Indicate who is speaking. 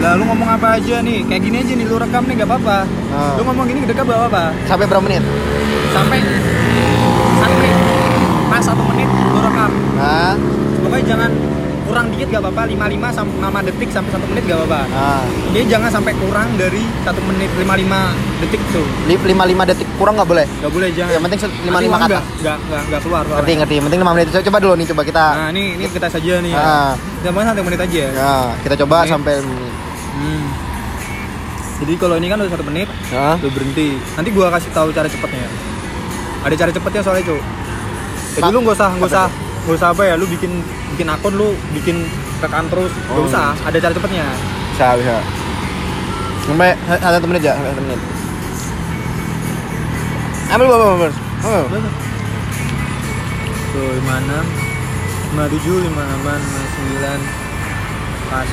Speaker 1: Lah lu ngomong apa aja nih? Kayak gini aja nih lu rekam nih gak apa-apa.
Speaker 2: Ah.
Speaker 1: Lu ngomong gini gede bawa apa?
Speaker 2: Sampai berapa menit?
Speaker 1: Sampai sampai pas satu menit lu rekam.
Speaker 2: Nah,
Speaker 1: Pokoknya jangan kurang dikit gak apa-apa 55 sampai 5 detik sampai satu menit gak apa-apa.
Speaker 2: nah.
Speaker 1: Dia jangan sampai kurang dari satu menit 55 detik tuh.
Speaker 2: Li- 55 detik kurang nggak boleh.
Speaker 1: Gak boleh jangan.
Speaker 2: Yang penting se- 55 kata.
Speaker 1: Enggak, enggak, enggak, enggak keluar. keluar.
Speaker 2: Ngerti ngerti. Yang Penting 5 menit. Coba dulu nih coba kita.
Speaker 1: Nah, ini ini kita saja nih. Ya.
Speaker 2: Ah.
Speaker 1: Jangan banget satu menit aja.
Speaker 2: Nah, kita coba
Speaker 1: Ini.
Speaker 2: sampai menit.
Speaker 1: Hmm. Jadi kalau ini kan udah satu menit,
Speaker 2: Nah.
Speaker 1: lu berhenti. Nanti gua kasih tahu cara cepetnya. Ada cara cepetnya soalnya cuy. Jadi
Speaker 2: Pak,
Speaker 1: lu nggak usah nggak
Speaker 2: apa
Speaker 1: usah nggak usah apa ya. Lu bikin bikin akun lu bikin rekan terus. Nggak
Speaker 2: Oh.
Speaker 1: usah. Ada cara cepetnya.
Speaker 2: Bisa bisa. Sampai sa- satu menit ya, sampai satu menit. Ambil ambil ambil. ambil.
Speaker 1: Tuh, 56, 57, 56, 59, pas